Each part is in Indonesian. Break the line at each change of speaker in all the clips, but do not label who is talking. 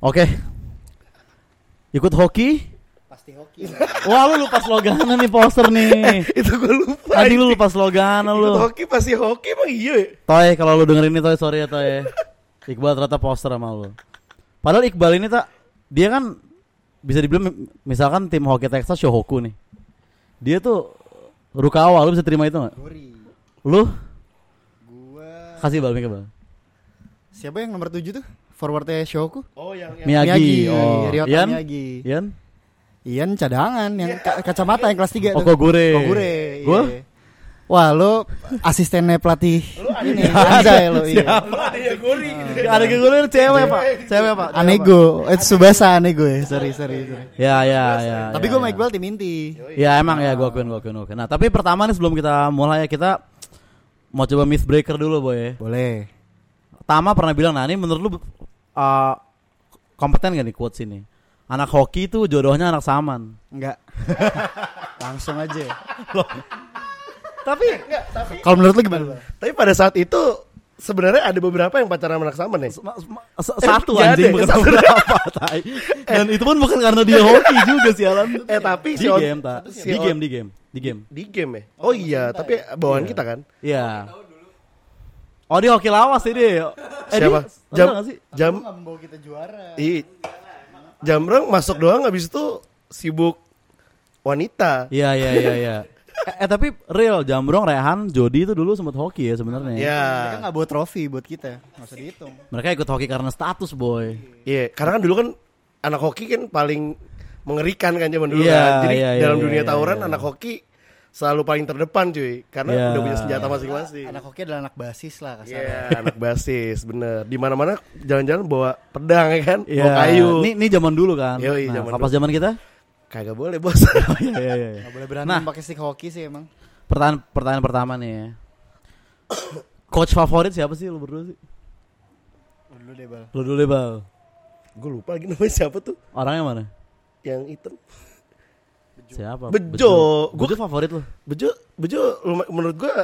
Oke. Ikut hoki?
Pasti hoki.
Wah lu lupa slogan nih poster nih.
itu gue lupa.
Tadi lu lupa slogan
Ikut
lu.
hoki pasti hoki emang iya. ya?
Toy kalau lu dengerin ini Toy sorry ya Toy. Iqbal ternyata poster sama lu. Padahal Iqbal ini tak dia kan bisa dibilang mi- misalkan tim hoki Texas Shohoku nih. Dia tuh Rukawa lu bisa terima itu nggak?
Gori.
Lu
Gua
kasih bal mic ke Bal.
siapa yang nomor 7 tuh? Forwardnya Shoku?
Oh yang yang
Miyagi. Oh,
Ryota
Ian?
Miyagi.
Ian?
Ian cadangan yang ka- kacamata yang kelas 3
Oh, Kogure.
Kogure.
Gua?
iya. Wah, lu asistennya pelatih ini Anjay lu iya.
ada yang gori.
Ada gue lu cewek, Pak. Cewek, Pak.
Anego, eh Tsubasa Anego ya. Sorry, sorry, sorry.
Ya,
Iya,
ya, ya. ya,
Tapi gue
ya.
Mike Bell tim inti.
Oh,
Ya emang ya gue akuin gue akuin oke. Nah tapi pertama nih sebelum kita mulai ya kita mau coba myth breaker dulu boy. ya.
Boleh.
Tama pernah bilang nah ini menurut lu uh, kompeten gak nih quotes ini? Anak hoki itu jodohnya anak saman.
Enggak. Langsung aja.
Tapi
Kalau menurut lu gimana?
Tapi pada saat itu sebenarnya ada beberapa yang pacaran sama anak sama nih. Eh,
ma- ma- s- satu
nggak
anjing
ada, ya,
bukan
satu.
beberapa tai. Dan itu pun bukan karena dia hoki juga sialan.
Eh tapi
Di
On-
game tak?
si
Di
On-
game di game di game.
di game ya. Oh iya, tapi bawaan kita kan.
Iya. Oh dia hoki lawas ini. Eh, dia-
Siapa?
enggak
Jam
nggak sih?
jam
membawa kita juara.
i Jamreng masuk doang habis itu sibuk wanita.
Iya iya iya iya. Eh, eh, tapi real Jambrong Rehan Jody itu dulu sempat hoki ya sebenarnya.
Mereka
Ya.
nggak bawa trofi buat kita. Nggak usah dihitung.
Mereka ikut hoki karena status boy.
Iya, karena kan dulu kan anak hoki kan paling mengerikan kan zaman dulu
Iya,
kan. Jadi
iya, iya,
dalam
iya,
dunia
iya,
tawuran
iya.
anak hoki selalu paling terdepan cuy karena
Iya.
udah punya senjata masing-masing.
Anak hoki adalah anak basis lah kasar.
Iya, anak basis, bener. Di mana-mana jalan-jalan bawa pedang ya kan, bawa kayu.
Ini ini zaman dulu kan.
Yoi,
nah,
zaman
kapas Iya. zaman kita?
Kagak boleh bos.
Iya iya iya.
Nggak boleh berantem
Nah.
pakai stick hoki sih emang.
Pertanyaan pertanyaan pertama nih. ya. Coach favorit siapa sih lu berdua sih?
Dulu deh bal.
Lu dulu deh, Bal.
Gue lupa lagi namanya siapa tuh
Orangnya mana?
yang hitam.
Siapa?
Bejo.
Bejo,
Gua-
Bejo favorit lu.
Bejo, Bejo luma- menurut gue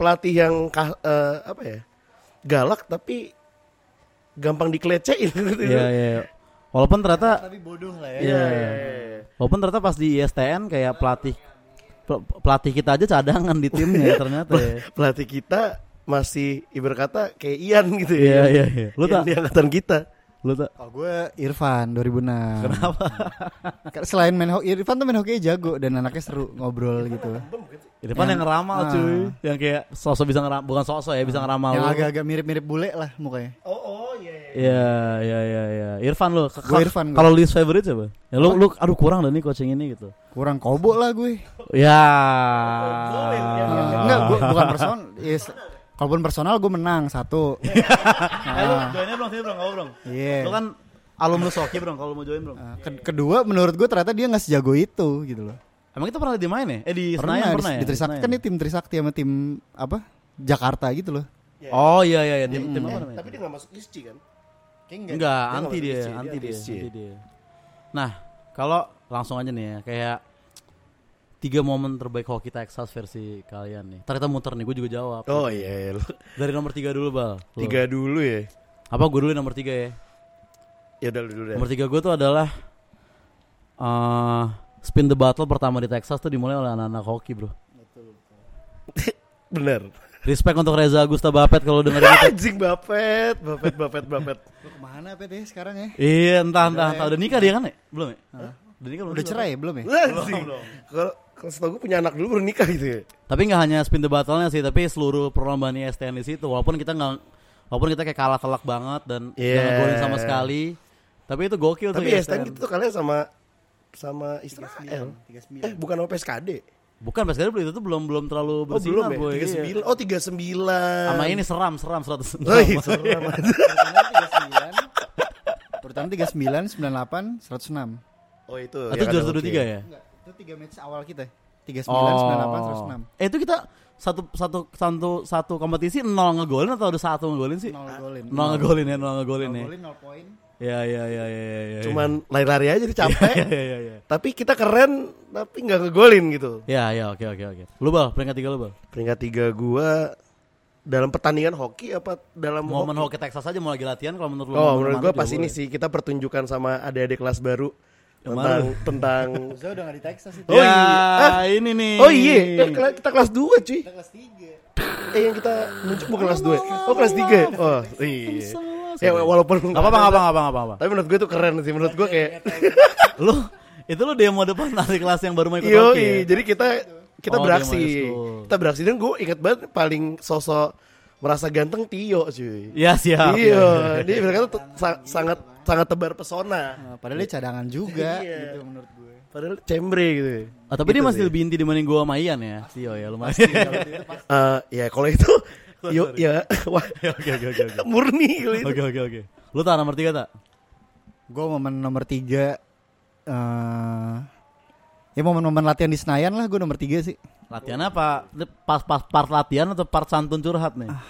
pelatih yang kah- eh, apa ya galak tapi gampang dikelecehin. gitu.
Iya iya. Walaupun ternyata
Tapi bodoh lah ya.
iya.
Eh.
Walaupun ternyata pas di E ISTN kayak pelatih pel- pelatih kita aja cadangan di timnya ternyata ya.
Pelatih kita masih ibarat kata kayak Ian gitu ya.
Iya iya iya. Lu
Lu
tak
di angkatan kita.
lu tak
Kalau gue Irfan 2006. Kenapa? Kan Selain main hoki, Irfan tuh main hoki jago dan anaknya seru ngobrol gitu.
Irfan yang, ngeramal cuy, yang kayak sosok bisa ngeramal, bukan sosok ya, bisa ngeramal.
Ah. Yang
lu.
agak-agak mirip-mirip bule lah mukanya.
Oh oh iya.
Iya, iya, iya, iya. Irfan lu, ke-
Gua Irfan, gua.
kalau list favorite siapa? Ya lu lu aduh kurang dan nih coaching ini gitu.
Kurang kobo lah gue. Iya.
Ya. Ah.
Enggak, gue bukan personal. Yes. Kalaupun personal gue menang satu. Nah,
Joinnya belum sini belum ngobrol.
Iya.
Lu kan alumnus Soki bro, kalau lu mau join bro.
Nah, ke- kedua menurut gue ternyata dia nggak sejago itu gitu loh.
Emang kita pernah di main ya? Eh di Senayan
Pernah,
pernah
di,
ya?
di Trisakti
Senayan.
kan dia tim Trisakti sama tim apa? Jakarta gitu loh.
Oh iya iya iya, tim tim apa namanya?
Tapi dia gak masuk ISCI kan?
Enggak,
Dia
anti
nggak
dia,
masuk IC,
anti
dia
dia,
IC.
anti dia. Nah, kalau langsung aja nih ya, kayak tiga momen terbaik hoki Texas versi kalian nih. Ntar kita muter nih, gue juga jawab.
Oh iya. lu-
Dari nomor tiga dulu, Bal. Lu.
Tiga dulu ya.
Apa gue dulu yang nomor tiga ya?
Ya udah lu dulu deh.
Nomor tiga gue tuh adalah eh spin the battle pertama di Texas tuh dimulai oleh anak-anak hoki, bro.
Bener.
Respect untuk Reza Agusta Bapet kalau dengerin itu.
Anjing bapet, bapet, bapet, bapet.
Lu kemana PT sekarang ya?
Iya, entah entah entah udah nikah dia kan ya? Belum ya? Udah nikah belum?
Udah cerai ya belum
Eh,
ya?
Anjing. Kalau kalau setahu gue punya anak dulu baru nikah gitu ya.
Tapi nggak hanya spin the battle-nya sih, tapi seluruh perlombaan E STN di situ. Walaupun kita nggak, walaupun kita kayak kalah telak banget dan
Yeah.
nggak golin sama sekali. Tapi itu gokil
Iya. Tapi
tuh
E
E
STN itu tuh kalian sama sama Israel. Eh bukan sama PSKD.
Bukan pas kali itu tuh belum belum terlalu
Oh
bersinar boy.
belum ya?
Iya.
39. Oh 39.
Sama ini seram seram 100.
Oh, iya, seram.
Pertama 39, 98, 106.
Oh itu.
Itu
kan,
juara
oke.
123 ya?
Enggak, itu 3 match awal kita. ya. 39,
Oh.
98, 106.
Eh itu kita satu satu satu satu kompetisi nol ngegolin atau ada satu ngegolin sih?
Nol golin.
Nol ngegolin ya, nol ngegolin
Nol
ya.
golin, nol poin.
Ya ya ya ya ya. ya.
Cuman lari-lari aja jadi capek.
ya ya ya.
tapi kita keren tapi
Iya,
nggak ngegolin gitu.
Ya ya oke oke oke. Lu bal peringkat tiga lu bal.
Peringkat 3 gua dalam pertandingan hoki apa dalam
Momen hoki Texas aja mau lagi latihan kalau menurut lu. momen
Oh, menurut
mana
gua
juga
pas ini
boleh.
sih kita pertunjukan sama adik-adik kelas baru
Yang
tentang
baru.
tentang
Saya udah gak di Texas itu.
Oh,
ya,
iya.
ini nih.
Oh iya, Eh, kela- kita kelas 2 cuy.
Kelas 3.
Eh yang kita nunjuk bukan kelas 2. Oh kelas 3. Oh, iya. Ya walaupun
Apa apa apa apa apa apa.
Tapi menurut gue itu keren sih. Menurut gue kayak
Lu itu lu demo depan dari kelas yang baru mau ikut
Yo,
hoki. ya?
Iya, jadi kita kita
Oh, dia
beraksi.
mau school.
Kita beraksi dan gue ingat banget paling sosok merasa ganteng Tio cuy.
Ya siap.
Tio, dia berkata t- sa- sangat sangat tebar pesona.
Oh, Padahal dia cadangan juga
Iya.
gitu menurut gue.
Padahal cembre gitu.
Oh, tapi dia masih lebih inti dibanding gua sama Ian ya. Sio
iya,
ya lumayan.
Eh, ya kalau itu yo ya wah
Oh, Oke oke oke oke.
murni gitu. kalau itu.
Oke oke oke. Lu tahan nomor 3 tak?
Gue momen nomor 3 eh ya momen-momen latihan di Senayan lah gue nomor 3 sih.
Latihan apa? Ini Pas pas part latihan atau part santun curhat nih?
Ah,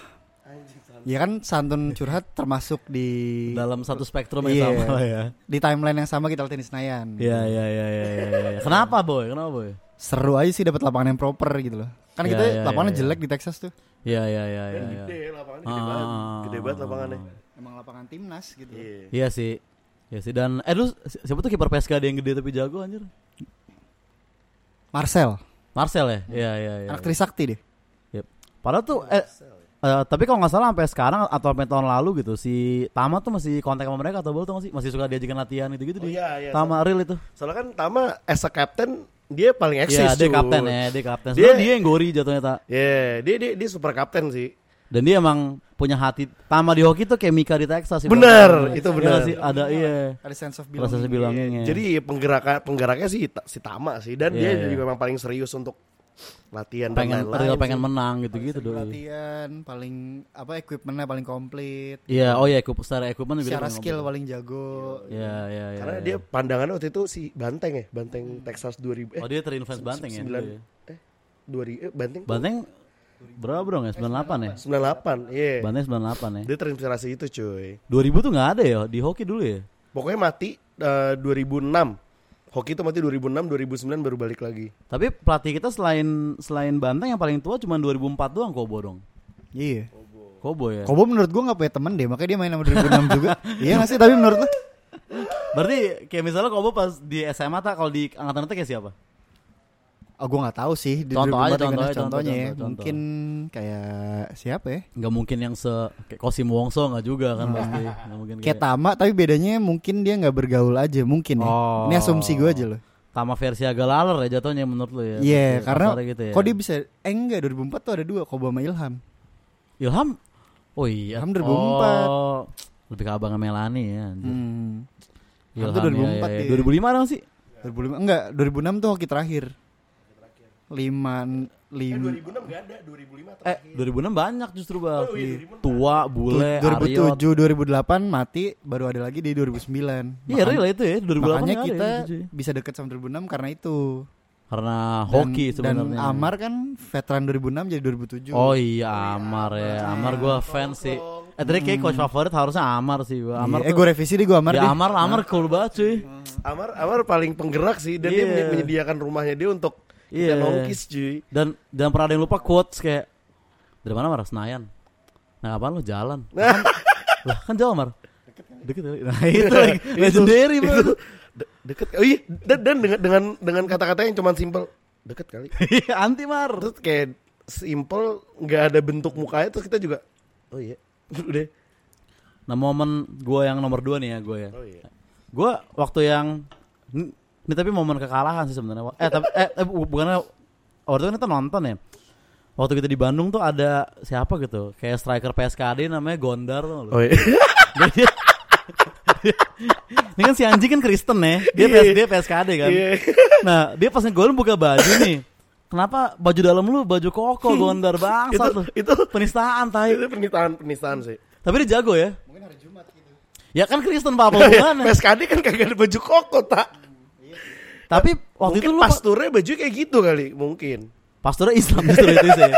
Ya kan santun curhat termasuk di
Dalam satu spektrum
Iya.
yang sama lah ya.
di timeline yang sama kita latihan di Senayan.
Iya iya iya iya. iya, iya. Kenapa boy? Kenapa boy?
Seru aja sih dapat lapangan yang proper gitu loh. Kan
Iya,
kita
iya,
lapangannya
iya,
jelek di Texas tuh.
Iya iya
Kan
iya iya.
gitu
iya.
ya. lapangannya
gede banget. Gede banget
lapangannya.
Emang lapangan timnas gitu.
Iya sih. Iya sih dan eh lu si- siapa tuh kiper PSK ada yang gede tapi jago anjir?
Marcel,
Marcel ya? Iya iya iya.
anak Trisakti deh.
Yep. Padahal tuh eh, eh, tapi kalau nggak salah sampai sekarang atau sampai tahun lalu gitu si Tama tuh masih kontak sama mereka atau belum tuh masih masih suka diajakin latihan gitu gitu
Oh,
di
iya, iya.
Tama real itu.
Soalnya kan Tama as a captain dia paling eksis
Iya, dia
cuy.
kapten ya, dia kapten.
Dia-
Sebenarnya dia yang gori jatuhnya tak.
Iya, dia dia dia super kapten sih.
Dan dia emang punya hati Tama di hoki tuh kayak Mika di Texas sih.
Bener, itu
Iya
bener.
sih, ada iya.
Ada sense of
Proses
belonging.
bilangnya.
Jadi penggerak penggeraknya sih ta- si Tama sih
Iya,
dan dia
iya.
juga memang paling serius untuk latihan
pengen
dan
real
lain-lain.
pengen menang gitu-gitu doi.
Latihan paling apa equipmentnya paling komplit.
Iya, oh iya, equip- secara equipment juga
Secara
dia
skill
ngomong.
paling jago.
Iya, iya, iya.
Karena
iya.
dia pandangannya waktu itu si Banteng ya, Banteng Texas 2000
Oh,
eh
dia terinfluence Banteng ya.
sembilan-
doi.
eh 2000 eh Banteng tuh
Banteng berapa bro ya? 98 ya?
98. Iya.
Banteng 98 ya.
Dia terinspirasi itu cuy.
2000 tuh nggak ada ya di hoki dulu ya.
Pokoknya mati eh, 2006. Hoki itu mati 2006, 2009 baru balik lagi.
Tapi pelatih kita selain selain Banteng yang paling tua cuma 2004 doang Kobo dong.
Iya.
Kobo ya.
Kobo menurut gua nggak punya temen deh, makanya dia main sama 2006 juga. iya nggak sih? Tapi menurut lu?
Berarti kayak misalnya Kobo pas di SMA tak kalau di angkatan itu kayak siapa?
Oh, gue nggak tahu sih. Di
Contoh aja,
2004
contoh aja,
Indonesia contohnya
contoh,
ya.
contoh.
Mungkin kayak siapa ya?
Nggak mungkin yang se kayak Kosim Wongso nggak juga kan pasti. Nggak mungkin
Kayak
kayak
Tama, tapi bedanya mungkin dia nggak bergaul aja, mungkin ya.
Oh.
Ini asumsi gue aja loh.
Tama versi agak laler ya jatuhnya menurut lu ya.
Iya,
Pasti
karena
kasarnya gitu ya.
kok dia bisa? Eh enggak, 2004 tuh ada dua, Kobo sama Ilham.
Ilham Oh iya.
Ilham 2004.
Oh, lebih ke abangnya Melani ya. anjir.
Hmm.
Ilham
Ilham tuh
ya, ya, ya.
2004 dia.
2005 ada nggak sih?
2005 enggak, 2006 tuh hoki terakhir. Lima, lima.
2006 enggak ada, 2005
Eh, 2006 banyak justru bang. Tua, bule, Ariot.
2007, 2008 mati, baru ada lagi di 2009.
Iya
Makanya-
real itu ya 2008
Makanya
nggak ada
kita
ya, itu, cuy.
bisa deket sama 2006 karena itu.
karena
Dan-
hoki
dan
sebenarnya.
Amar kan veteran 2006 jadi 2007.
Oh iya Amar ya. Amar gua fans sih. Eh tadi kayak coach favorit harusnya Amar sih. gua. Amar
Iya, Eh
tuh-
gue revisi deh gue Amar
ya
deh.
Amar Amar cool banget cuy.
Amar Amar paling penggerak sih dan
Iya.
dia men- menyediakan rumahnya dia untuk
Iya.
kita nongkis cuy.
Dan jangan pernah ada yang lupa quotes kayak dari mana Amar? Senayan. Nah, apaan lu jalan?
Nah,
Lah, kan jauh Amar. Deket kali. Nah, itu lagi legendary
itu
bro.
de- deket. Oh iya, dan, dan dengan dengan dengan kata-kata yang cuman simpel deket kali.
Iya, anti Mar.
Terus kayak simpel, nggak ada bentuk mukanya terus kita juga oh iya. Udah.
Nah, momen gua yang nomor 2 nih ya gua ya.
Oh iya.
Gue waktu yang ini, ini tapi momen kekalahan sih sebenarnya. Eh tapi eh, eh, bu- bukannya waktu itu kan kita nonton ya. Waktu kita di Bandung tuh ada siapa gitu, kayak striker PSKD namanya Gondar tuh.
Oh iya.
Ini kan si Anji kan Kristen ya. Dia
Iya.
PS, dia PSKD kan.
Iya.
Nah, dia pas ngegolin buka baju nih. Kenapa baju dalam lu baju koko Gondar
itu
bangsat lu.
itu
Penistaan tai.
itu penistaan penistaan sih.
Tapi dia jago ya. Mungkin hari Jumat gitu. Ya kan Kristen Pak apa hubungannya?
PSKD kan kagak ada baju koko tak.
Tapi waktu
Mungkin
itu lu
pasturnya baju kayak gitu kali mungkin.
Pasturnya Islam justru itu sih.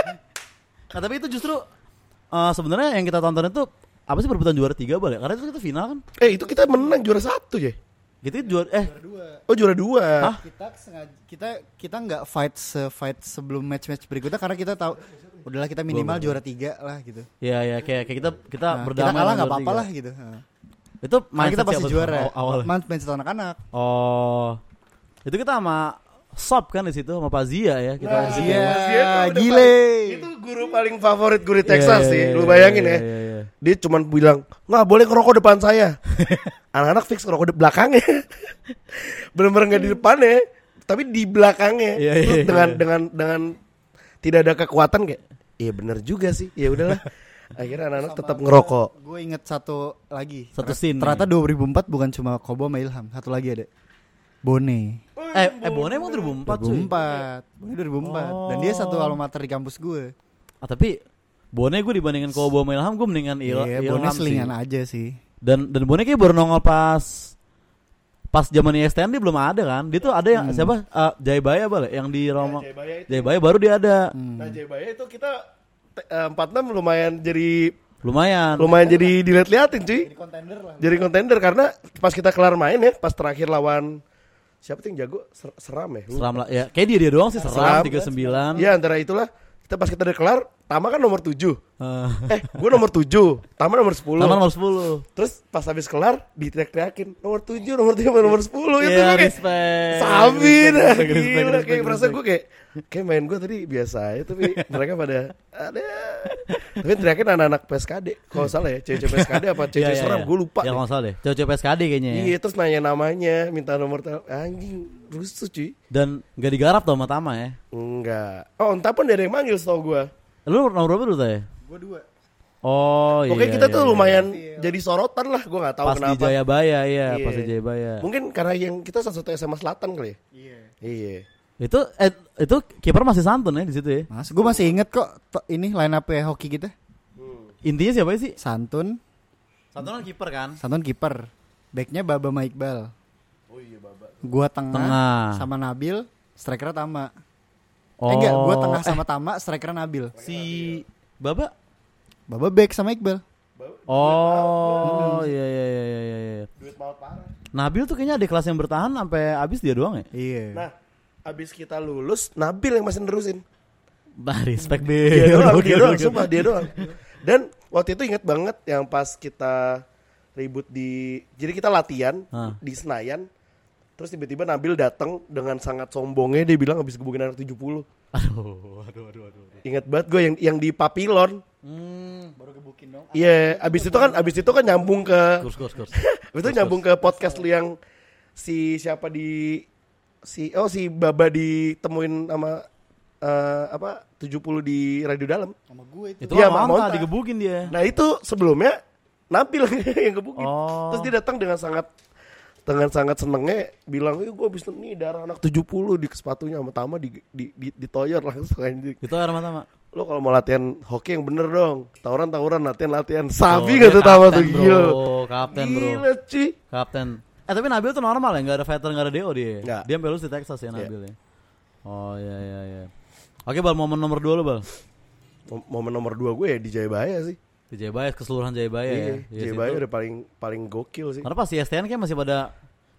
Nah tapi itu justru eh, sebenarnya yang kita tonton itu apa sih perebutan juara tiga bal ya? Karena itu kita final kan.
Eh itu kita menang juara satu ya.
Gitu juara eh
Oh juara dua.
Hah?
kita sengaja kita kita nggak fight se fight sebelum match match berikutnya karena kita tahu udahlah kita minimal juara tiga lah gitu.
Ya ya kayak, kayak kita kita
Nah,
berdamai.
kita kalah
sama
nggak
bertiga.
apa-apa lah gitu. Nah.
Itu
Karena
main
kita pasti juara.
Awal.
Main mindset anak-anak.
Oh. Itu kita sama Sop kan di situ sama Pazia ya kita.
Nah,
di situ.
Iya,
Dia tuh udah
gile.
paling- Itu guru paling favorit guru Texas
Iya,
sih.
iya,
Lu
iya,
bayangin
iya,
ya.
iya, iya.
Dia cuman bilang, "Nggak boleh ngerokok depan saya." Anak-anak fix ngerokok di belakangnya. Bener-bener nggak di depannya, tapi di belakangnya.
Iya,
Lu
iya,
dengan
iya.
dengan dengan tidak ada kekuatan kayak, "Iya bener juga sih." Ya udahlah. Akhirnya anak-anak tetap ngerokok.
Gue inget satu lagi.
Satu
Ter-
scene.
Ternyata 2004 bukan cuma Kobo sama Ilham. Satu lagi ada. Bone.
Eh, eh Bone emang 2004 cuy. Oh.
2004. Bone 2004. Dan dia satu alma mater di kampus gue.
Ah, tapi Bone gue dibandingkan Kobo sama Ilham gue mendingan Il
Iya, Bone
Ilham sih.
selingan aja sih.
Dan dan Bone kayak baru nongol pas pas zamannya STM dia belum ada kan. Dia tuh ada yang
Hmm.
siapa? Eh, Jaibaya balik yang di Roma.
Ya, Jaibaya itu.
Jaibaya baru dia ada.
Hmm.
Nah, Jayabaya itu kita te- eh, 46 lumayan jadi
Lumayan.
lumayan jadi dilihat-liatin cuy.
Contender lah.
jadi kontender karena pas kita kelar main ya pas terakhir lawan siapa tuh yang jago Ser- seram ya Lu-
Seram lah ya. Kayak dia dia doang sih
Seram.
seram 39.
ya
Iya.
antara itulah kita pas kita udah kelar Tama kan nomor 7
Eh,
eh gue nomor 7 Tama nomor 10
Taman nomor 10.
terus pas habis kelar diteriak-teriakin nomor 7 nomor 3 nomor 10 itu
Iya,
gue kayak
respect.
Samin
Respect, respect, respect,
gila kayak
respect,
merasa gue kayak kayak main gue tadi biasa aja tapi mereka pada ada tapi teriakin anak-anak PSKD kalau nggak salah ya cewek-cewek PSKD apa
Iya,
cewek
iya,
seram
iya.
gue lupa
Ya
deh.
kalau nggak salah deh. Cewek-cewek PSKD kayaknya. ya.
Iya terus nanya namanya Minta nomor telepon Anjing rusuh cuy
Dan nggak digarap tuh sama Tama ya.
Enggak Oh entah pun dari yang manggil setau gue
Lu nomor berapa dulu tadi?
Gue dua.
Oh iya.
Pokoknya kita
iya,
tuh
iya.
lumayan Jadi sorotan lah Gue gak tahu
pas di
kenapa
Jayabaya iya,
Iya.
pas di Jayabaya.
Mungkin karena yang kita satu-satu SMA Selatan kali ya
Iya.
Iya
Itu eh, itu kiper masih santun ya di situ ya.
Mas, gue masih inget kok to- ini line up hoki kita.
Intinya siapa sih?
Santun,
Santun kan kiper kan?
Santun kiper. Backnya Baba sama Iqbal.
Oh iya,
Gua tengah,
Tengah.
sama Nabil, striker Tama.
Oh.
Eh enggak, gua tengah sama Tama, striker Nabil.
si Baba.
Baba back sama Iqbal.
Oh,
Mm.
iya iya iya iya iya, iya.
Duit maut parah
Nabil tuh kayaknya ada kelas yang bertahan sampai habis dia doang ya.
Iya.
Nah abis kita lulus Nabil yang masih nerusin
Bah, respect
Dia
deh.
doang Dia doang Sumpah dia doang Dan waktu itu inget banget Yang pas kita ribut di Jadi kita latihan
Hah.
Di Senayan Terus tiba-tiba Nabil datang dengan sangat sombongnya dia bilang habis gebukin anak 70.
Aduh, aduh, aduh, aduh.
Ingat banget gue yang yang di papilon.
Hmm, Baru kebukin dong.
Iya, abis itu kan abis itu kan nyambung ke
Kurs, kurs, kurs.
abis itu nyambung ke podcast lu yang si siapa di si oh si Baba ditemuin sama eh, apa 70 di radio dalam.
Sama gue
Itu ya,
Iya, Mak
Manta
Monta.
digebukin dia.
Nah, itu sebelumnya Nabil yang kebukin.
Oh.
Terus dia datang dengan sangat dengan sangat senengnya bilang, "Ih, gue abis nih darah anak 70 di sepatunya sama Tama di di, di, ditoyor langsung anjing."
Itu air mata, Mak.
gitu. lo kalau mau latihan hoki yang bener dong tawuran tawuran latihan latihan
Oh,
sabi
dia
nggak tuh tawa tuh
kapten, bro.
gila
Kapten, bro.
gila cuy
Kapten. Eh tapi Nabil tuh normal ya, nggak ada veteran, nggak ada DO dia.
Nggak.
ya?
Iya.
Dia sampai lulus di Texas ya Nabil ya. Oh iya iya iya. Oke bal momen nomor dua lo bal.
Mom- momen nomor dua gue ya di Jayabaya sih
Di Jayabaya keseluruhan Jayabaya ya.
iya,
Iya,
Jayabaya
situ.
udah paling paling gokil sih
Karena pas E di STN kayak masih pada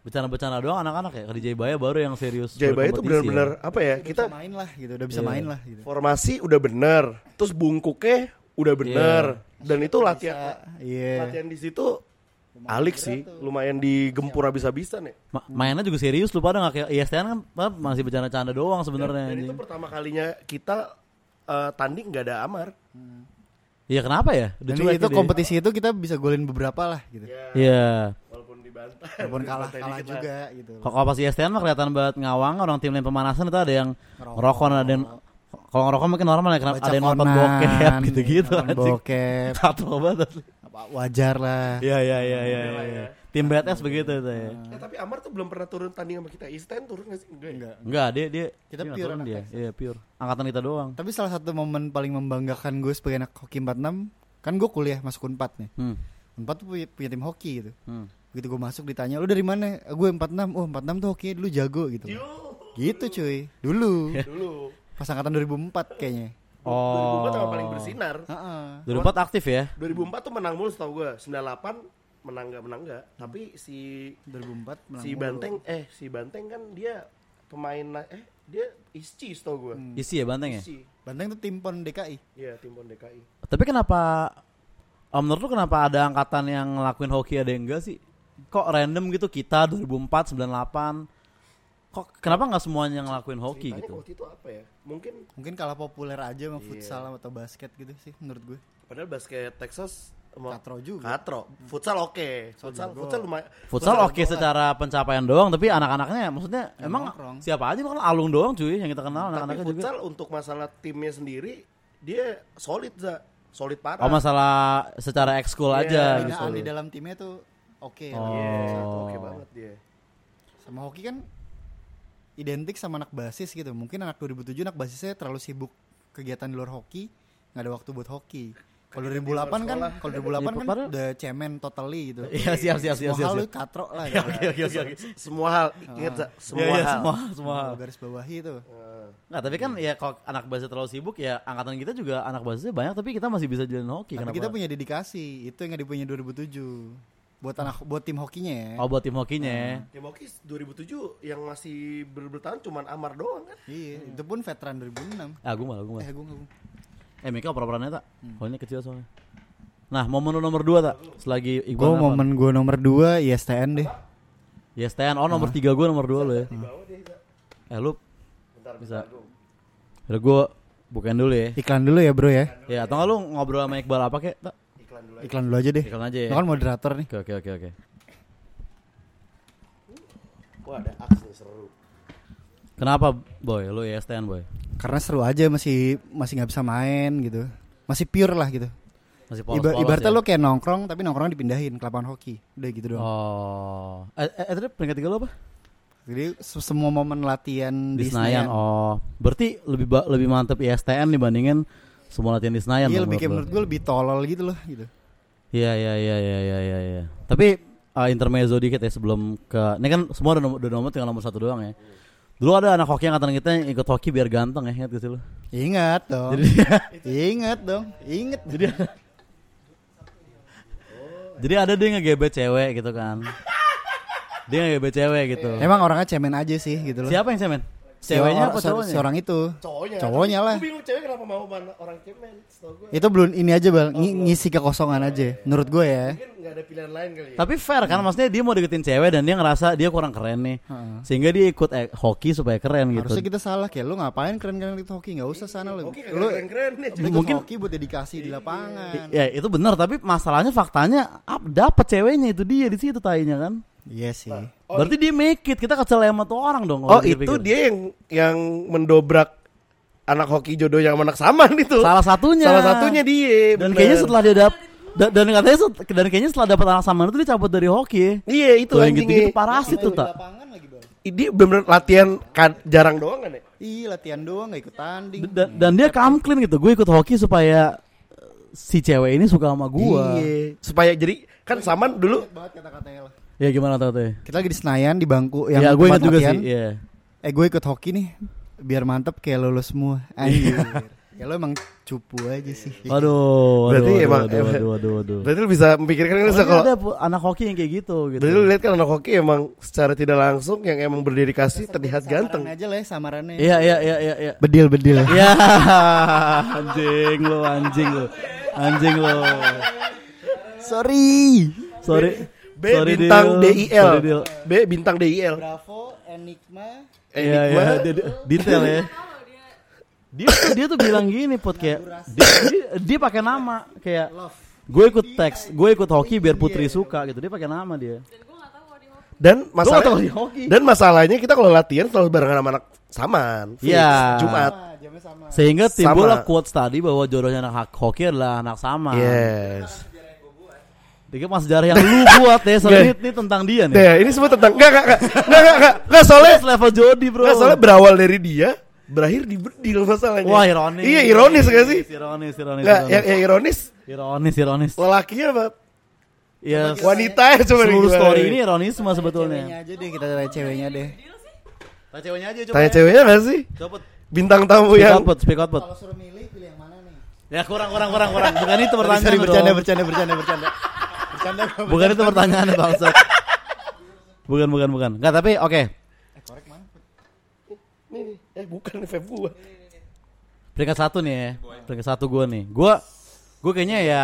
bercanda-bercanda doang anak-anak ya. Di Jayabaya baru yang serius.
Jayabaya itu
berkompetisi
bener-bener
ya.
apa ya kita
Kita main lah gitu, udah bisa
Iya.
main lah gitu.
formasi udah bener terus bungkuknya udah
Iya.
bener dan itu latihan
Iya.
latihan di situ alik sih lumayan digempur habis-habisan ya
Ma- mainnya juga serius lu pada nggak kayak di STN kan ma- masih bercanda-canda doang sebenarnya.
dan itu
anjing.
pertama kalinya kita eh, tanding nggak ada amar
Iya kenapa ya? Udah
Dan
cuek
itu
dia.
kompetisi itu kita bisa golin beberapa lah gitu.
Iya.
walaupun dibantah
Nah.
Walaupun kalah
Dibantai
kalah
dikit lah.
juga gitu.
Kalau kalau pas di STN mah kelihatan banget ngawang orang tim lain pemanasan itu ada yang rokok ada yang kalau ngerokok mungkin normal ya kenapa
Baca
ada yang nonton
konan, iya,
bokep gitu-gitu
nonton
anjing.
Bokep.
Katro banget asli.
Apa, Wajar lah.
Iya iya iya iya iya, iya. Tim BTS begitu itu ya.
Nah.
Eh tapi Amar tuh belum pernah turun tanding sama kita. Isten turun gak sih? Enggak. ya?
Enggak, dia dia
Kita
dia nggak
pure
turun
anak
dia. Iya, pure. Angkatan kita doang.
Tapi salah satu momen paling membanggakan gue sebagai anak hoki 46 Kan gue kuliah masuk Unpad nih
Hmm.
Unpad tuh punya, punya tim hoki gitu
Hmm.
Begitu gue masuk ditanya lu dari mana? "Ah, Gue 46 Oh 46 tuh hokinya dulu jago gitu Gitu cuy Dulu
Dulu.
Pas angkatan 2004 kayaknya
Oh.
2004 sama paling bersinar.
Heeh.
2004 aktif ya.
2004 tuh menang mulu setahu gue. 98
Hmm.
menang gak menang gak. Tapi si
2004 menang
si Banteng eh si Banteng kan dia pemain na- eh dia Isci tau gue.
Isi ya Banteng ya?
Isci.
Banteng tuh tim pon DKI.
Iya, tim PON DKI.
Tapi kenapa Om menurut lu kenapa ada angkatan yang ngelakuin hoki ada yang enggak sih? Kok random gitu kita 2004, 98 Kok kenapa nggak semuanya ngelakuin hoki
Tanya
gitu?
waktu itu apa ya? Mungkin
Mungkin kalah populer aja sama futsal atau basket gitu sih menurut gue.
padahal basket Texas mau-
Katro juga.
Katro. Futsal oke. Futsal futsal lumayan.
Hmm. Futsal oke secara pencapaian doang, tapi anak-anaknya maksudnya emang
nongkrong.
siapa aja kan alung doang cuy yang kita kenal
Tapi
anak-anaknya juga.
futsal untuk masalah timnya sendiri dia solid za solid parah.
Oh masalah secara ekskul
Iya,
aja
iya.
gitu.
Binaan di dalam timnya tuh oke. lah.
Oh.
Iya, futsal tuh oke banget dia.
Sama hoki kan identik sama anak basis gitu. Mungkin anak 2007 anak basisnya terlalu sibuk kegiatan di luar hoki, nggak ada waktu buat hoki. Kalau 2008 kan,
sekolah.
kalau 2008 kan
Padahal-
udah cemen totally gitu.
Iya siap siap siap
Semua
siap.
hal lu
siap.
katro lah. gitu.
Oke oke oke. oke.
Semua hal ingat Za, semua
Iya, iya,
hal.
semua semua.
Mau garis bawahi tuh.
Eh,
Nggak, tapi kan ya kalau anak basket terlalu sibuk ya angkatan kita juga anak basket banyak tapi kita masih bisa jalan hoki
Tapi
Iya, kenapa?
kita punya dedikasi, itu yang nggak dipunya 2007. Buat anak buat tim hokinya ya.
Oh buat tim hokinya ya.
Ya Moki 2007 yang masih berbertahan cuman Amar doang kan.
Iya, itu pun veteran 2006.
Ah, gue malah, gue
Eh,
malah.
gue nggak-
Eh, Mika oper-operannya tak?
Hmm.
Holnya kecil soalnya. Nah, momen lu nomor 2 tak? Selagi Iqbal
Gue
apa?
Oh, momen gue nomor 2 ISTN deh.
Ya, Stan. Oh,
Ah.
nomor 3 gue nomor 2 lo ya.
Bawa deh Za.
Eh, lu
Bentar
Bisa.
bentar, Agung.
Udah gue bukain dulu ya.
Iklan dulu ya bro ya.
Ya, atau nggak lu ngobrol sama Iqbal apa kek? Tak?
Iklan dulu aja.
Iklan dulu aja deh.
Iklan aja ya.
Lo kan moderator nih.
Oke, oke, oke, oke.
Wah ada aks nih seru.
Kenapa, Boy? Lu ya Stan, Boy.
Karena seru aja masih masih nggak bisa main gitu. Masih pure lah gitu.
Masih
Iba-
polos-polos
ibaratnya
ya?
lo kayak nongkrong tapi nongkrong dipindahin ke lapangan hoki. Udah gitu doang.
Oh. Eh, eh, eh, tadi peringkat 3 lu apa?
Jadi se- semua momen latihan ya,
Di,
di,
Senayan. Oh. Berarti lebih ba- lebih mantep ISTN dibandingin semua latihan di Senayan.
Iya
dong,
lebih kayak
lu?
menurut gue lebih tolol gitu loh gitu.
Iya iya iya iya iya iya. iya. Tapi eh, intermezzo dikit ya sebelum ke ini kan semua udah nomor, udah nomor tinggal nomor satu doang ya. Dulu ada anak hoki angkatan kita yang ikut hoki biar ganteng ya ingat gak sih lu?
Ingat dong. ingat dong. Ingat. Jadi
Jadi ada dia ngegebet cewek gitu kan. dia ngegebet cewek gitu.
emang orangnya cemen aja sih gitu loh.
Siapa yang cemen?
Si
Ceweknya
or-
apa
si-
cowoknya?
Si orang itu.
Cowoknya.
Cowoknya
Tapi
lah.
Gue bingung cewek kenapa mau mana orang cemen. Setahu gue
Itu belum ini aja bang,
Oh,
ngi- ngisi kekosongan aja. Menurut gue ya.
mungkin nggak ada pilihan lain kali ya.
Tapi fair kan maksudnya dia mau deketin cewek dan dia ngerasa dia kurang keren nih.
Heeh.
Sehingga dia ikut eh, hoki supaya keren gitu.
Harusnya kan. kita salah kayak lu ngapain keren-keren itu hoki nggak Iya, usah sana lu.
Oke
Lu
keren keren nih.
lu ikut
Mungkin-
hoki buat dedikasi di lapangan.
Ya itu benar tapi masalahnya faktanya ap- dapet ceweknya itu dia di situ tainya kan.
Iya sih.
Berarti dia make it. Kita kesel sama tuh orang dong. kalau
Oh itu
dipikir-pikir.
dia yang yang mendobrak anak hoki jodoh yang anak saman itu.
Salah satunya.
Salah satunya dia.
Dan
bener.
kayaknya setelah dia dap da- dan katanya set- dan kayaknya setelah dapat anak saman itu dia cabut dari hoki.
Iya itu
Tuh, yang gitu-gitu
anjingnya.
parasit tuh tak.
Lapangan lagi bang.
Dia bener latihan kan- jarang doang kan ya.
Ih latihan doang nggak ikut tanding.
Dan, dan dia come clean gitu. Gue ikut hoki supaya eh, si cewek ini suka sama gua.
Iya. Supaya jadi kan saman dulu
Ingat banget kata-katanya lah.
Ya gimana tuh tuh?
Kita lagi di Senayan di bangku yang
ya gue
tempat
ingat juga
latihan.
sih. Iya.
Eh gue ikut hoki nih biar mantep kayak lo lo semua. Anjir. ya lo emang cupu aja sih.
Iya. Waduh,
Iya. Berarti
waduh,
emang-
waduh, waduh, waduh, waduh.
berarti lu bisa memikirkan kan
Pokoknya
Sa, kalau
ada pu- anak hoki yang kayak gitu gitu.
berarti lu lihat kan anak hoki emang secara tidak langsung yang emang berdedikasi terlihat ganteng.
Samaran aja lah ya, samarannya.
Iya, iya, iya, iya, iya.
Bedil bedil.
Ya, anjing lu, anjing lu. Anjing lu.
Sorry.
Sorry.
B
Sorry,
bintang
Dil.
DIL. Iya,
Sorry, Dil.
B bintang DIL.
Bravo Enigma.
Iya, iya,
Enigma.
dia- dia- detail ya. Dia tuh, dia tuh bilang gini put kayak dia, dia, dia pakai nama kayak gue ikut teks, gue ikut hoki biar putri suka gitu. Dia pakai nama dia.
Dan
tahu
masalah
di hoki.
dan masalahnya kita kalau latihan selalu barengan sama anak saman. Fix.
Iya.
Jumat.
Ah, jamnya sama.
Sehingga
Sama.
timbullah quotes tadi bahwa jodohnya anak hak- hoki adalah anak sama.
Yes.
Tiga mas sejarah yang lu buat ya soalnya ini, ini tentang dia nih.
Nah, ini semua tentang enggak enggak enggak enggak enggak, enggak, enggak, soalnya
Next level jodi bro.
enggak soalnya berawal dari dia berakhir di bedil masalahnya.
Wah ironis.
Iya ironis gak sih? ya,
Ironis, ironis,
Enggak,
ironis.
yang, yang ironis
Ironis, ironis.
lelakinya apa?
Ya,
Wanita ya coba
seluruh
gimana
story
nih?
ini ya. ironisme sebetulnya.
Ceweknya aja deh kita tanya ceweknya deh.
Tanya ceweknya aja ya.
Tanya Iya. ceweknya gak sih?
Coba
Bintang tamu
Speak
yang
out, Put. Speak out, Put.
Kalau suruh milih pilih yang mana nih?
Ya kurang kurang kurang kurang. Bukan itu pertanyaan.
Sorry
dong.
bercanda bercanda bercanda bercanda. Bercanda gua.
Bukan itu pertanyaan bangsa. bukan bukan bukan. Enggak tapi oke.
Eh korek mana?
Nih, nih. eh bukan nih vape gua.
Peringkat satu nih ya. Peringkat satu gue nih. Gue gue kayaknya ya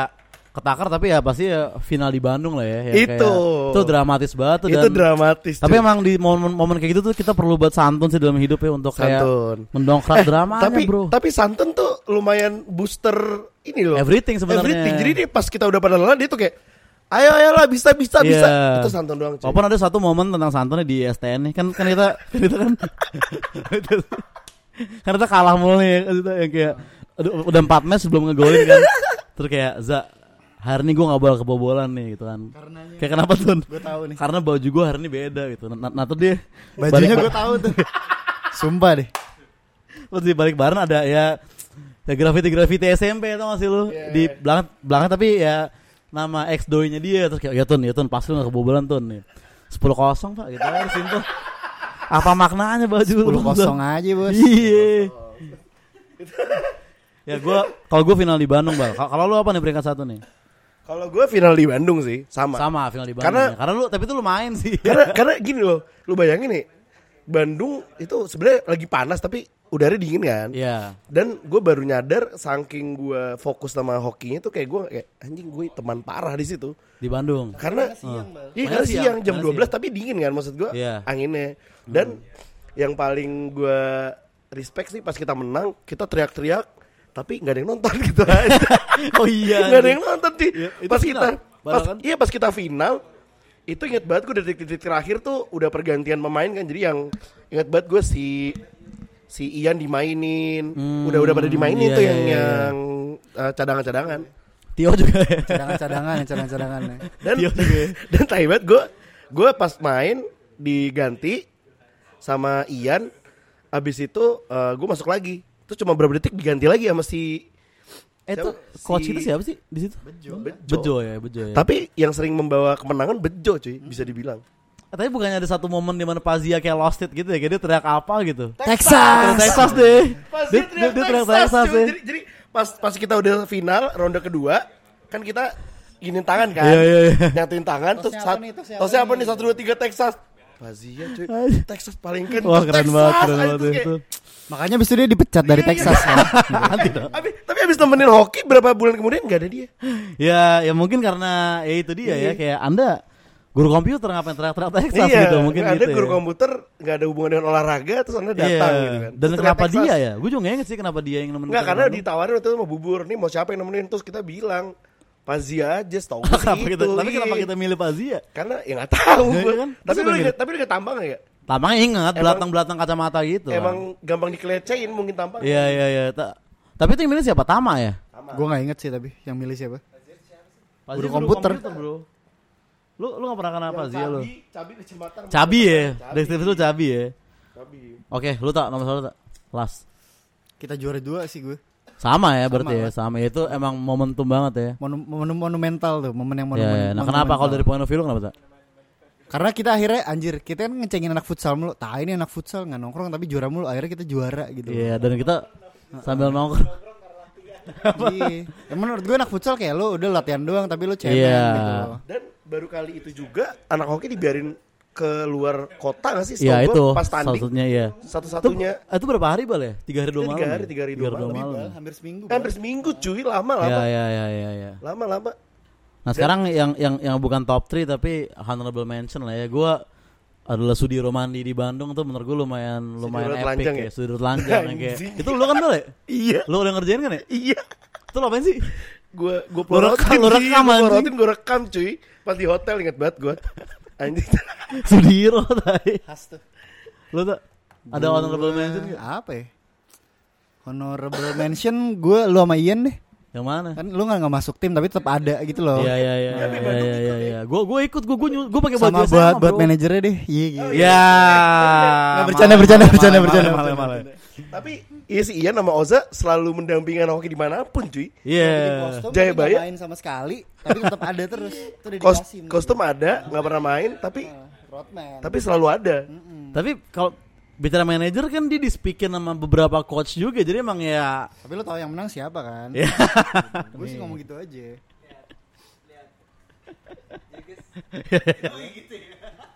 ketakar tapi ya pasti ya final di Bandung lah ya. Yang
Itu.
kayak- itu dramatis banget tuh
Itu
dan-
dramatis.
Tapi
cuy.
emang di momen, momen kayak gitu tuh kita perlu buat santun sih dalam hidup ya untuk kayak
Santun.
mendongkrak
Eh,
dramanya
tapi
bro.
tapi santan tuh lumayan booster ini loh.
Everything sebenarnya.
Everything. Jadi dia pas kita udah pada lelah dia tuh kayak ayo ayolah bisa bisa bisa.
Iya.
Itu santan doang. cuy.
Walaupun ada satu momen tentang santunnya di STN nih kan kan kita kan kita kan kan kita kalah mulu nih kan kita yang kayak aduh, udah empat match sebelum ngegolin kan terus kayak za hari ini gue nggak boleh kebobolan nih gitu kan
Karenanya.
kayak kenapa tuh
Gue tahu nih.
karena baju gue hari ini beda gitu nah, nah tuh dia
Bajunya
balik-
gue tahu tuh. Sumpah deh.
Terus di balik baran ada ya ya graffiti graffiti SMP atau masih lu
Iya,
di belakang belakang tapi ya nama ex doi-nya dia terus kayak ya tun ya tun pas lu nggak kebobolan tun nih sepuluh kosong pak gitu harus itu apa maknanya baju lu
Puluh
Bang,
kosong
Tun?
aja bos.
iya ya gua kalau gua final di Bandung bang Kalau- kalau lu apa nih peringkat satu nih
Kalau gue final di Bandung sih sama.
sama final di Bandung ya.
Karena-
karena lu tapi itu lu main sih
karena karena gini loh lu bayangin nih Bandung itu sebenarnya lagi panas tapi udaranya dingin kan
Iya
dan gue baru nyadar saking gue fokus sama hokinya tuh kayak gue kayak anjing gue teman parah di situ
di Bandung
karena iya
Karena
karena
siang,
siang jam
karena
12 tapi dingin kan maksud gue
Iya.
anginnya dan yang paling gue respect sih pas kita menang kita teriak-teriak tapi nggak ada yang nonton gitu aja
oh iya
nggak ada yang nonton sih.
Iya, itu
pas
final.
kita
Barang
pas-
kan?
iya pas kita final itu inget banget gue detik-detik terakhir tuh udah pergantian pemain kan jadi yang inget banget gue si si Ian dimainin udah udah pada dimainin
iya,
tuh
iya,
yang
iya.
yang eh, cadangan-cadangan
Tio juga ya
Cadangan-cadangan, cadangan-cadangan.
dan
Iya juga ya.
dan tai banget gue gue pas main diganti sama Ian abis itu gue masuk lagi terus cuma berapa detik diganti lagi sama si
eh itu
Siapa?
coach
Si-
kita siapa sih di situ
Bejo.
Bejo ya, Bejo ya.
Tapi yang sering membawa kemenangan Bejo cuy bisa dibilang.
Eh, tapi bukannya ada satu momen di mana Pazia kayak lost it gitu ya, kayak dia teriak apa gitu. Teriak
Texas.
Texas deh.
Pasti
Dia, dia, dia teriak Texas
cuy.
deh.
Jadi, jadi pas pas kita udah final ronde kedua kan kita ginin tangan kan.
Iya, iya, iya.
Nyatuin tangan terus
apa
sat-
nih, tosnya
tosnya
apa
apa nih? Satu dua tiga Texas. Pazia cuy.
Anjing.
Texas paling keren.
Wah
Terus
keren
Texas,
banget, keren
anjing,
banget
terus
itu.
kayak-
Makanya abis itu dia dipecat dari Texas kan.
Nah,
Tapi tapi abis temenin hoki berapa bulan kemudian nggak ada dia.
Ya, ya mungkin karena ya itu dia
Iya.
ya, kayak Anda guru komputer ngapain teriak-teriak Texas gitu, mungkin
nggak
gitu.
Iya, ada guru
ya.
komputer nggak ada hubungan dengan olahraga terus anda
Iya.
datang gitu kan.
Dan
Terus
kenapa
ternyata
dia
Texas.
ya? Gitu kan. Gue juga nggak inget sih kenapa dia yang nemenin.
Enggak
kita
karena
ke Bandung.
ditawarin waktu itu mau bubur nih mau siapa yang nemenin terus kita bilang Pazia aja setau gue
kenapa
gitu.
kita, tapi
iya.
kenapa kita milih Pazia?
Karena ya nggak tahu
Iya
gue.
kan?
Tapi
Terus
lu
apa
inget, tapi lu inget tampangnya ya?
Tampangnya inget, belatang-belatang kacamata gitu. kan.
Emang gampang dikelecehin mungkin tampang.
Iya, iya, iya. Ta- Tapi itu yang milih siapa? Tama ya?
Gue gak inget sih tapi yang milih siapa.
Pasti
Guru
guru
komputer.
bro. Lu lu gak pernah kenapa sih ya lu?
Cabi di Cimatar.
Cabi ya. Detektif lu cabi ya.
Cabi.
Oke, lu tak nomor satu tak? Last.
Kita juara dua sih gue.
Sama ya berarti ya, sama. Itu emang momentum banget ya.
Monu- monu- monumental tuh, momen yang
Ya,
monumen-
ya. nah
monumental.
kenapa kalau dari point of view lu kenapa tak?
Karena kita akhirnya anjir, kita kan ngecengin anak futsal mulu. Tah ini anak futsal nggak nongkrong tapi juara mulu. Akhirnya kita juara gitu.
Iya, dan kita sambil nongkrong.
Iya. Ya, menurut gue anak futsal kayak lo udah latihan doang tapi lo cemen
Iya.
gitu. loh.
Dan baru kali itu juga anak hoki dibiarin ke luar kota nggak sih? Setau
Iya,
gua
itu
Pas
salah
tanding
satunya ya.
satu-satunya
Itu, itu berapa hari bal ya? Tiga hari dua
Iya,
malam.
tiga
ya?
hari, tiga hari dua malam.
malam. ya?
Hampir seminggu.
kan hampir seminggu cuy
Ya,
lama-lama.
ya, ya, ya, ya.
Lama-lama.
Nah sekarang yang yang yang bukan top 3 tapi honorable mention lah ya. Gua adalah Sudi Romandi di Bandung tuh menurut gue lumayan lumayan
Sudiro
epic
telanjang
ya.
ya?
Sudiro telanjang ya kayak.
Anjing.
Itu lu kan boleh?
Iya.
Lu udah ngerjain kan ya?
Iya.
Itu lo apain sih?
gue gue
Lu rekam, lu rekam,
gue
anjing.
plorotin gue rekam cuy pas di hotel inget banget gue anjing
Sudiro tadi.
Khas tuh.
Lu tuh ada honorable mention nggak?
apa ya? Honorable mention gue lo sama Ian deh.
Yang mana?
Kan lu nggak nggak masuk tim tapi tetap ada gitu loh.
Iya iya iya iya iya iya. iya. Gua gua ikut gua gua nyu- gua pakai baju
Sama
SMA,
buat buat
bro.
manajernya deh. Iya iya.
Ya.
Nggak, bercanda, bercanda, bercanda, bercanda.
Malah malah.
tapi iya sih Ian sama Oza selalu mendampingi anak hoki dimanapun cuy
Iya.
Jayabaya.
main sama sekali tapi tetap ada terus. Itu udah
Kos-
dikasih.
kostum ada nggak pernah main tapi
Rodman.
tapi selalu ada
Tapi kalau bicara manajer kan dia dispikin sama beberapa coach juga. Jadi emang ya
Tapi lo tau yang menang siapa kan?
Iya.
Gue sih ngomong gitu aja.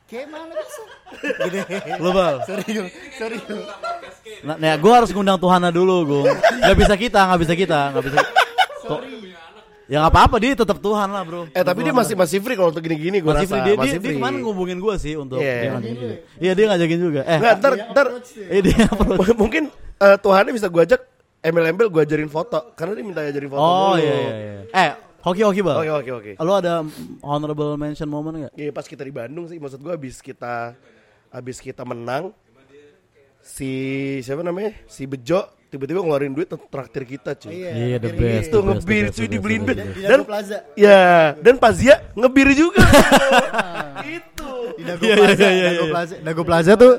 Kayak mana bisa? Gini. ya.
global.
Sorry, Gil. sorry. Gil.
Nah, nah gue harus ngundang Tuhana dulu, gue. Gak bisa kita, gak bisa kita, gak bisa. Kok- Ya gak apa-apa dia tetap Tuhan lah bro.
Eh tapi dia masih masih free kalau untuk gini-gini gue
masih
rasa.
free dia, dia,
masih
dia kemarin ngubungin gue sih untuk
Iya.
dia ngajakin juga. Iya dia ngajakin juga. Eh,
Nggak, ntar, ntar
eh dia approach.
M- mungkin eh, Tuhannya bisa gue ajak embel-embel gue ajarin foto karena dia minta ajarin foto
Oh
dulu.
iya iya iya. Eh, hoki-hoki bang.
Oke oke oke.
Lo ada honorable mention moment gak?
Ya, pas kita di Bandung sih maksud gue abis kita abis kita menang si siapa namanya si Bejo tiba-tiba ngeluarin duit untuk traktir kita cuy.
Iya, the best.
Itu ngebir cuy dibeliin bir.
Di
Dan
Dago Iya, Plaza.
ya dan Pazia ngebir juga. itu.
Di Dago
Iya, iya,
Plaza.
iya, iya,
Dago
iya.
Plaza. Dago Plaza tuh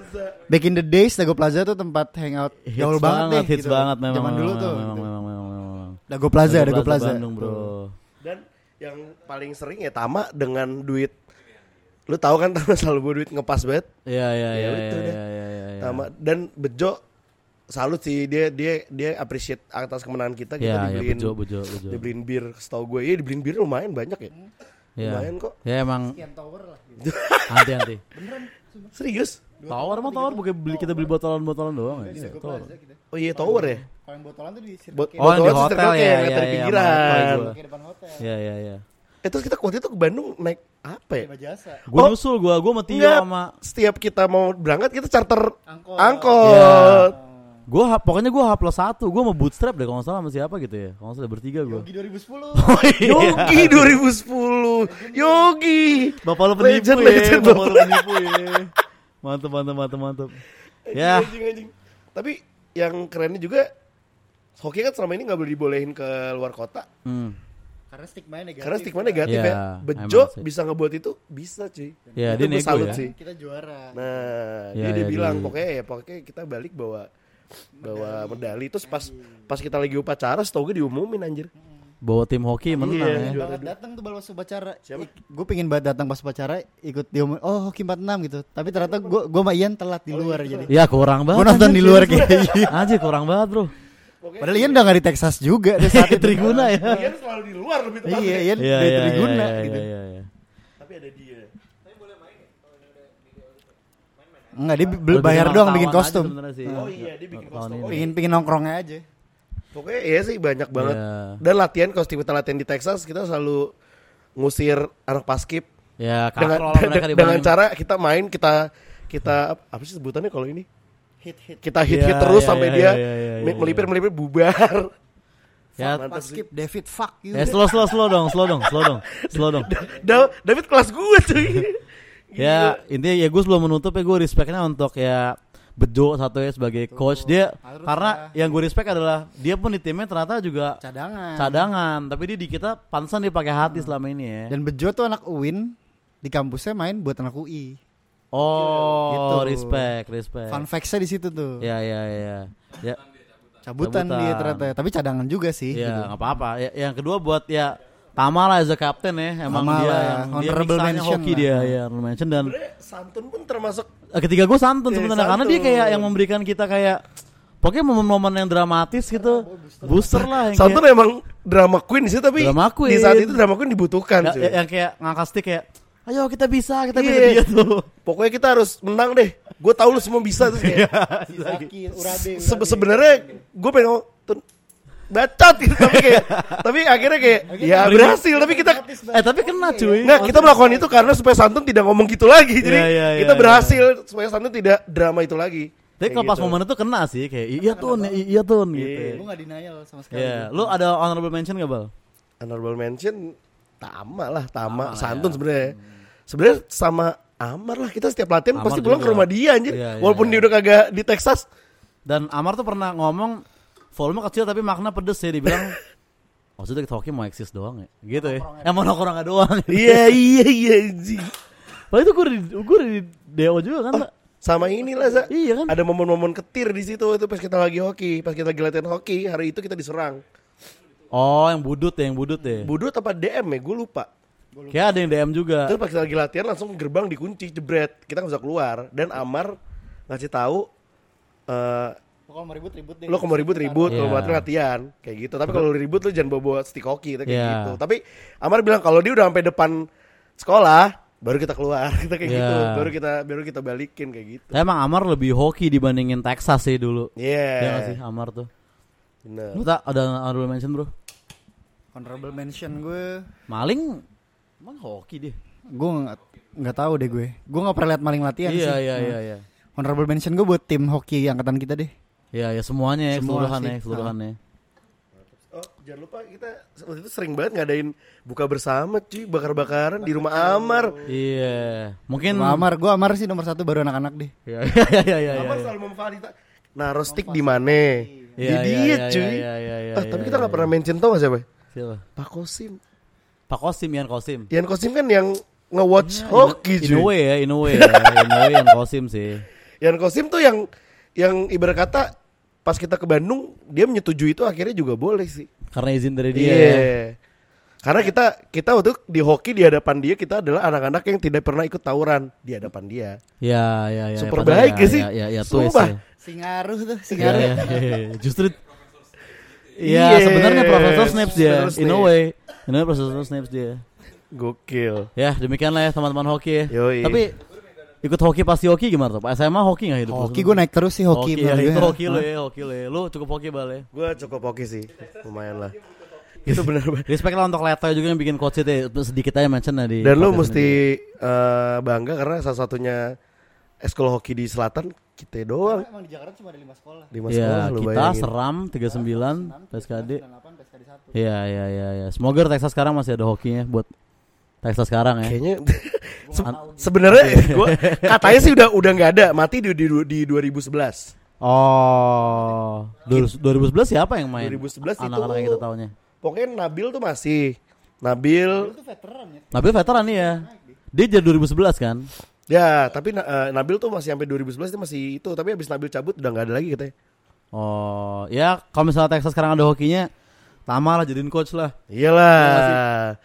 back in the days Dago Plaza tuh tempat hangout
Hits
gaul banget deh.
hits
gitu.
banget memang.
Zaman dulu
memang,
tuh.
Memang,
gitu.
memang, memang, memang.
Dago Plaza,
Dago
Dago Plaza.
Bandung bro.
Dan yang paling sering ya Tama dengan duit lu tahu kan Tama selalu bawa duit ngepas banget
Iya iya iya
itu
iya
deh.
iya iya, iya.
Tama dan Bejo salut sih dia dia dia appreciate atas kemenangan kita
Iya iya
kita dibeliin
bejo bejo bejo.
dibeliin bir setahu gue ya dibeliin bir lumayan banyak ya
Iya.
lumayan kok
Ya emang
Sekian tower lah. gitu.
anti anti.
serius
Tawar mah tawar bukan beli kita beli botolan-botolan doang ya. Iya,
Dago
tawar.
Plaza gitu.
oh iya tower ya
Kalau yang botolan tuh di Circle
buat
K,
Oh, yang di
buat orang tuh
hotel
circle
ya,
kayak
iya,
ngeliat dari
iya,
pinggiran
sama hotel
di depan hotel.
Iya iya iya.
eh terus kita waktu itu ke Bandung naik apa ya
Di Bajasa.
Gue
Oh.
nyusul gue, gue sama Tio
Enggak,
Iya, sama
setiap kita mau berangkat kita charter
Angkot.
Oh. angkot.
Gue Ya. pokoknya gue H plus satu, gue sama bootstrap deh kalau nggak salah sama siapa gitu ya, kalau nggak salah bertiga gue.
Yogi
Oh,
2010.
iya.
Yogi 2010 Yogi
Bapak lo penipu
Legend,
ya,
legend,
bapak lo
bapak.
penipu ya. Mantep mantep mantep mantep. Ya,
Anjing, anjing, anjing. Tapi yang kerennya juga Hoki kan selama ini nggak boleh dibolehin ke luar kota
hmm.
Karena stigma negatif.
Karena stigma negatif
Iya,
ya Bejo
emang sih.
bisa ngebuat itu Bisa cuy
Ya,
Itu
dia
gua
nego ya.
sih
Kita juara.
Nah
Iya,
dia, dia
iya,
bilang
dia-
Pokoknya ya pokoknya kita balik bawa Bawa medali Terus pas pas kita lagi upacara Setau gue diumumin anjir
bawa tim hoki menang
Iya,
ya.
juara
banget
dua.
datang tuh pas upacara.
Siapa?
Gue pengen banget datang pas upacara ikut dia ngomong, oh hoki 46 gitu. Tapi ternyata
Iya,
gue gue sama Ian telat di luar jadi.
Ya kurang banget.
Gue nonton di luar kayak
Anjir kurang banget bro.
Padahal Ian udah gak di Texas juga deh saat itu.
Triguna ya.
Dia selalu di luar lebih tepatnya.
Iya, Ian
Iya
dari
iya iya.
Triguna
iya,
gitu.
iya, iya.
Tapi ada dia
Enggak, dia bel-
Lebih
bayar
emang
doang
tawan
bikin
aja
kostum.
sebenarnya sih.
Oh iya dia bikin
Tahun
kostum
ini.
Pingin pingin nongkrongnya aja.
Pokoknya iya sih banyak banget.
Iya.
Dan latihan kalau kita latihan di Texas kita selalu ngusir anak paskip
Ya katrol
dengan
lah mereka
dengan
dibanding-
cara kita main kita kita ap- apa sih sebutannya kalau ini
Hit hit.
kita hit hit
Iya,
terus
iya,
sampai
iya,
dia
iya, iya, iya,
melipir melipir bubar.
Ya,
Pas skip David fuck you.
ya slow slow slow dong, slow dong, slow dong, slow dong.
Da- David kelas gue cuy.
Ya intinya ya gue sebelum menutup ya gue respectnya untuk ya Bejo satu ya sebagai coach dia
harus
karena
lah.
yang gue respect adalah dia pun di timnya ternyata juga
Cadangan. Hmm.
cadangan tapi dia di kita pansan dia pakai hati selama ini ya.
Dan Bejo tuh anak UIN di kampusnya main buat anak UI.
Oh
Gitu.
respect respect.
Fun facts-nya di situ tuh.
Ya ya ya ya Cabutan.
Cabutan, dia ternyata, tapi cadangan juga sih.
ya
gitu.
nggak apa-apa. Ya, yang kedua buat ya Tamala as a captain ya emang
Tamala,
dia
ya.
yang dia
Honorable
miksanya
mention
hoki
lah.
dia ya honorable mention dan
Sebenarnya Santun pun termasuk
Eh, ketiga gue santun
Iya,
sebenarnya karena dia
santun.
kayak yang memberikan kita kayak pokoknya momen-momen yang dramatis gitu
Oh,
booster lah yang
Santun ya, emang drama queen sih tapi
Drama queen.
di saat itu drama queen dibutuhkan
kayak,
cuy.
ya- yang kayak ngangkat stick kayak ayo kita bisa kita bisa
Iya.
dia tuh
Pokoknya kita harus menang deh. Gue tahu lu semua bisa terus
Iya.
kayak
Saki, Urabe,
Se- sebenarnya gue pengen ngomong, "Tun, bacot gitu tapi kayak tapi akhirnya kayak ya berhasil tapi kita
eh tapi kena cuy
nggak kita melakukan itu karena supaya santun tidak ngomong gitu lagi jadi
Iya, iya,
kita
iya,
berhasil supaya santun tidak drama itu lagi
tapi
Kayak
kalau pas
gitu.
momen itu kena sih kayak iya tuh iya tuh gitu
Gue gak denial sama sekali.
gitu.
ya lu ada honorable mention gak bal
honorable mention tama lah tama,
ya.
santun sebenarnya sebenarnya sama Amar lah kita setiap latihan
Amar
pasti pulang ke
juga.
rumah dia anjir
Iya, iya,
walaupun dia udah kagak di Texas
dan Amar tuh pernah ngomong volume kecil tapi makna pedes ya dibilang maksudnya kita hoki mau eksis doang ya gitu ya emang orang doang
iya iya iya anjing.
Padahal itu gue di gue di Dewa juga kan Pak?
sama inilah Za.
Iya kan?
ada momen-momen ketir di situ itu pas kita lagi hoki pas kita lagi latihan hoki hari itu kita diserang
Oh, yang budut ya, yang budut ya.
Budut apa DM ya gue lupa
Kayak ada yang DM juga.
terus pas kita lagi latihan langsung gerbang dikunci jebret kita nggak bisa keluar dan Amar ngasih tahu eh
Kalau mau ribut, ribut deh.
lo kalau mau ribut ribut
Iya.
kalau mau latihan latihan kayak gitu tapi kalau lu ribut lu jangan bawa bawa stick hoki gitu, kayak
Iya.
gitu tapi Amar bilang kalau dia udah sampai depan sekolah baru kita keluar kita kayak
Iya.
gitu baru kita baru kita balikin kayak gitu
Tapi emang Amar lebih hoki dibandingin Texas sih dulu. Iya nggak sih
yeah
Amar tuh.
bener
Lu tak ada honorable mention bro?
Honorable mention gue
Maling emang hoki dia.
gue nggak nggak tahu deh gue gue nggak pernah lihat maling latihan
Iya
sih
iya iya
Nah,
iya.
honorable mention gue buat tim hoki angkatan kita deh
Iya ya semuanya ya
Semua
keseluruhan
sih.
ya keseluruhan
Ah.
ya.
oh jangan lupa kita waktu itu sering banget ngadain buka bersama cuy bakar-bakaran di rumah Amar
Iya. Mungkin
Sama Amar gue Amar sih nomor satu baru anak-anak deh
Iya iya iya iya. iya,
Amar
iya.
selalu memvalidasi naruh stick di mana di
Iya, iya,
diet
iya,
cuy
iya, iya, iya,
Ah,
iya,
tapi
iya,
kita nggak
iya.
pernah mention tau gak siapa
Siapa?
Pak Kosim
Pak Kosim Ian Kosim.
Ian Kosim kan yang nge-watch
In-
hoki
in a
cuy
way ya, in a way ya, in a way Ian Kosim sih.
Ian Kosim tuh yang yang ibarat kata pas kita ke Bandung dia menyetujui itu akhirnya juga boleh sih
Karena izin dari dia. ya.
Iya. Karena kita kita waktu di hoki di hadapan dia kita adalah anak-anak yang tidak pernah ikut tawuran di hadapan dia.
Ya ya ya.
Super
padahal
baik ya sih.
Ya ya, ya twist
Sumpah.
ya.
singaruh tuh
Iya,
Ya,
singaruh
ya, ya, ya, ya. Justru Iya,
Yes,
sebenarnya Profesor Snaps dia,
Profesor
in a
Snape.
way. In a way Profesor Snaps dia.
Gokil.
Ya, demikianlah ya teman-teman hoki ya.
Yoi.
Tapi ikut hoki pasti hoki gimana tuh? Pak SMA hoki nggak hidup? lu
hoki gue
sebenarnya?
naik terus sih hoki,
hoki ya,
menurut
itu
gue.
hoki lo ya, hoki lo ya. Lu cukup hoki bal ya.
Gue cukup hoki sih, lumayan lah. Itu benar banget.
Respect lah untuk Leto juga yang bikin coach itu ya, sedikit aja mention lah di
Dan
podcast
lo
ini.
mesti eh, bangga karena salah satunya eskul hoki di selatan kita doang
emang di Jakarta cuma ada lima sekolah
di
Ya,
masalah lu
kita
bayangin.
Seram 39 PSKD.
98 PSKD satu
Iya, iya, iya, iya. Semoga Texas sekarang masih ada hokinya buat Texas sekarang ya.
Kayaknya se- sebenarnya gue katanya sih udah udah nggak ada mati di di, di 2011.
Oh, 2011 siapa yang main?
2011 itu-
Anak-anak yang kita taunya.
Pokoknya Nabil tuh masih Nabil
Nabil veteran nih ya. Dia jadi 2011 kan?
Ya, tapi Na- eh, Nabil tuh masih sampai 2011 dia masih itu, tapi habis Nabil cabut udah nggak ada lagi katanya.
Oh, ya kalau misalnya Texas sekarang ada hokinya, Tama lah jadiin coach lah.
Iyalah.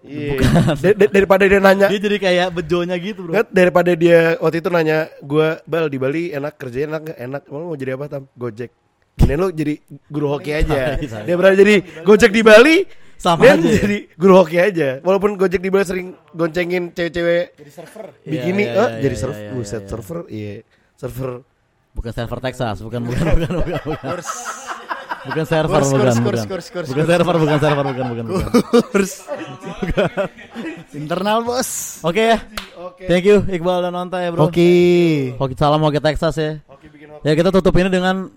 Iya. Da- da- daripada dia nanya,
Dia jadi kayak bejonya gitu, Bro.
Ngat, daripada dia waktu itu nanya gua bal di Bali enak kerjanya enak nggak? enak mau mau jadi apa tam Gojek Kemudian lu jadi guru hoki aja Dia berada jadi Gojek di Bali
Iya, Sama
Dan
aja ya?
jadi guru hoki aja Walaupun Gojek di Bali sering goncengin cewek-cewek
jadi server
Iya,
Bikini eh
iya, iya,
Jadi
iya,
server
iya,
Buset
iya.
server Iya Server
Bukan server Texas, bukan bukan bukan bukan. bukan. Bukan server,
Kurs,
bukan,
kurs,
bukan.
kurs, kurs, kurs,
bukan
kurs.
server, bukan server, bukan, bukan, bukan.
internal bos
Oke ya. Thank you Iqbal dan Onta ya, Bro.
hoki
Hoki salam hoki Texas ya. Ya kita tutup ini dengan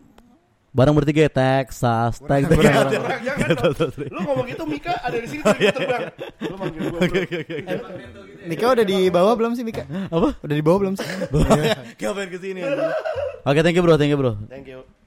barang bertiga ya, Texas. Texas.
Lu ngomong gitu Mika ada di sini
Oh, iya,
tadi gua terbang. Lu manggil gua. bro.
Mika udah di bawah belum sih Mika
Apa?
udah di bawah belum sih
Kapan ke sini? Oke, thank you Bro, thank you Bro.
Thank you.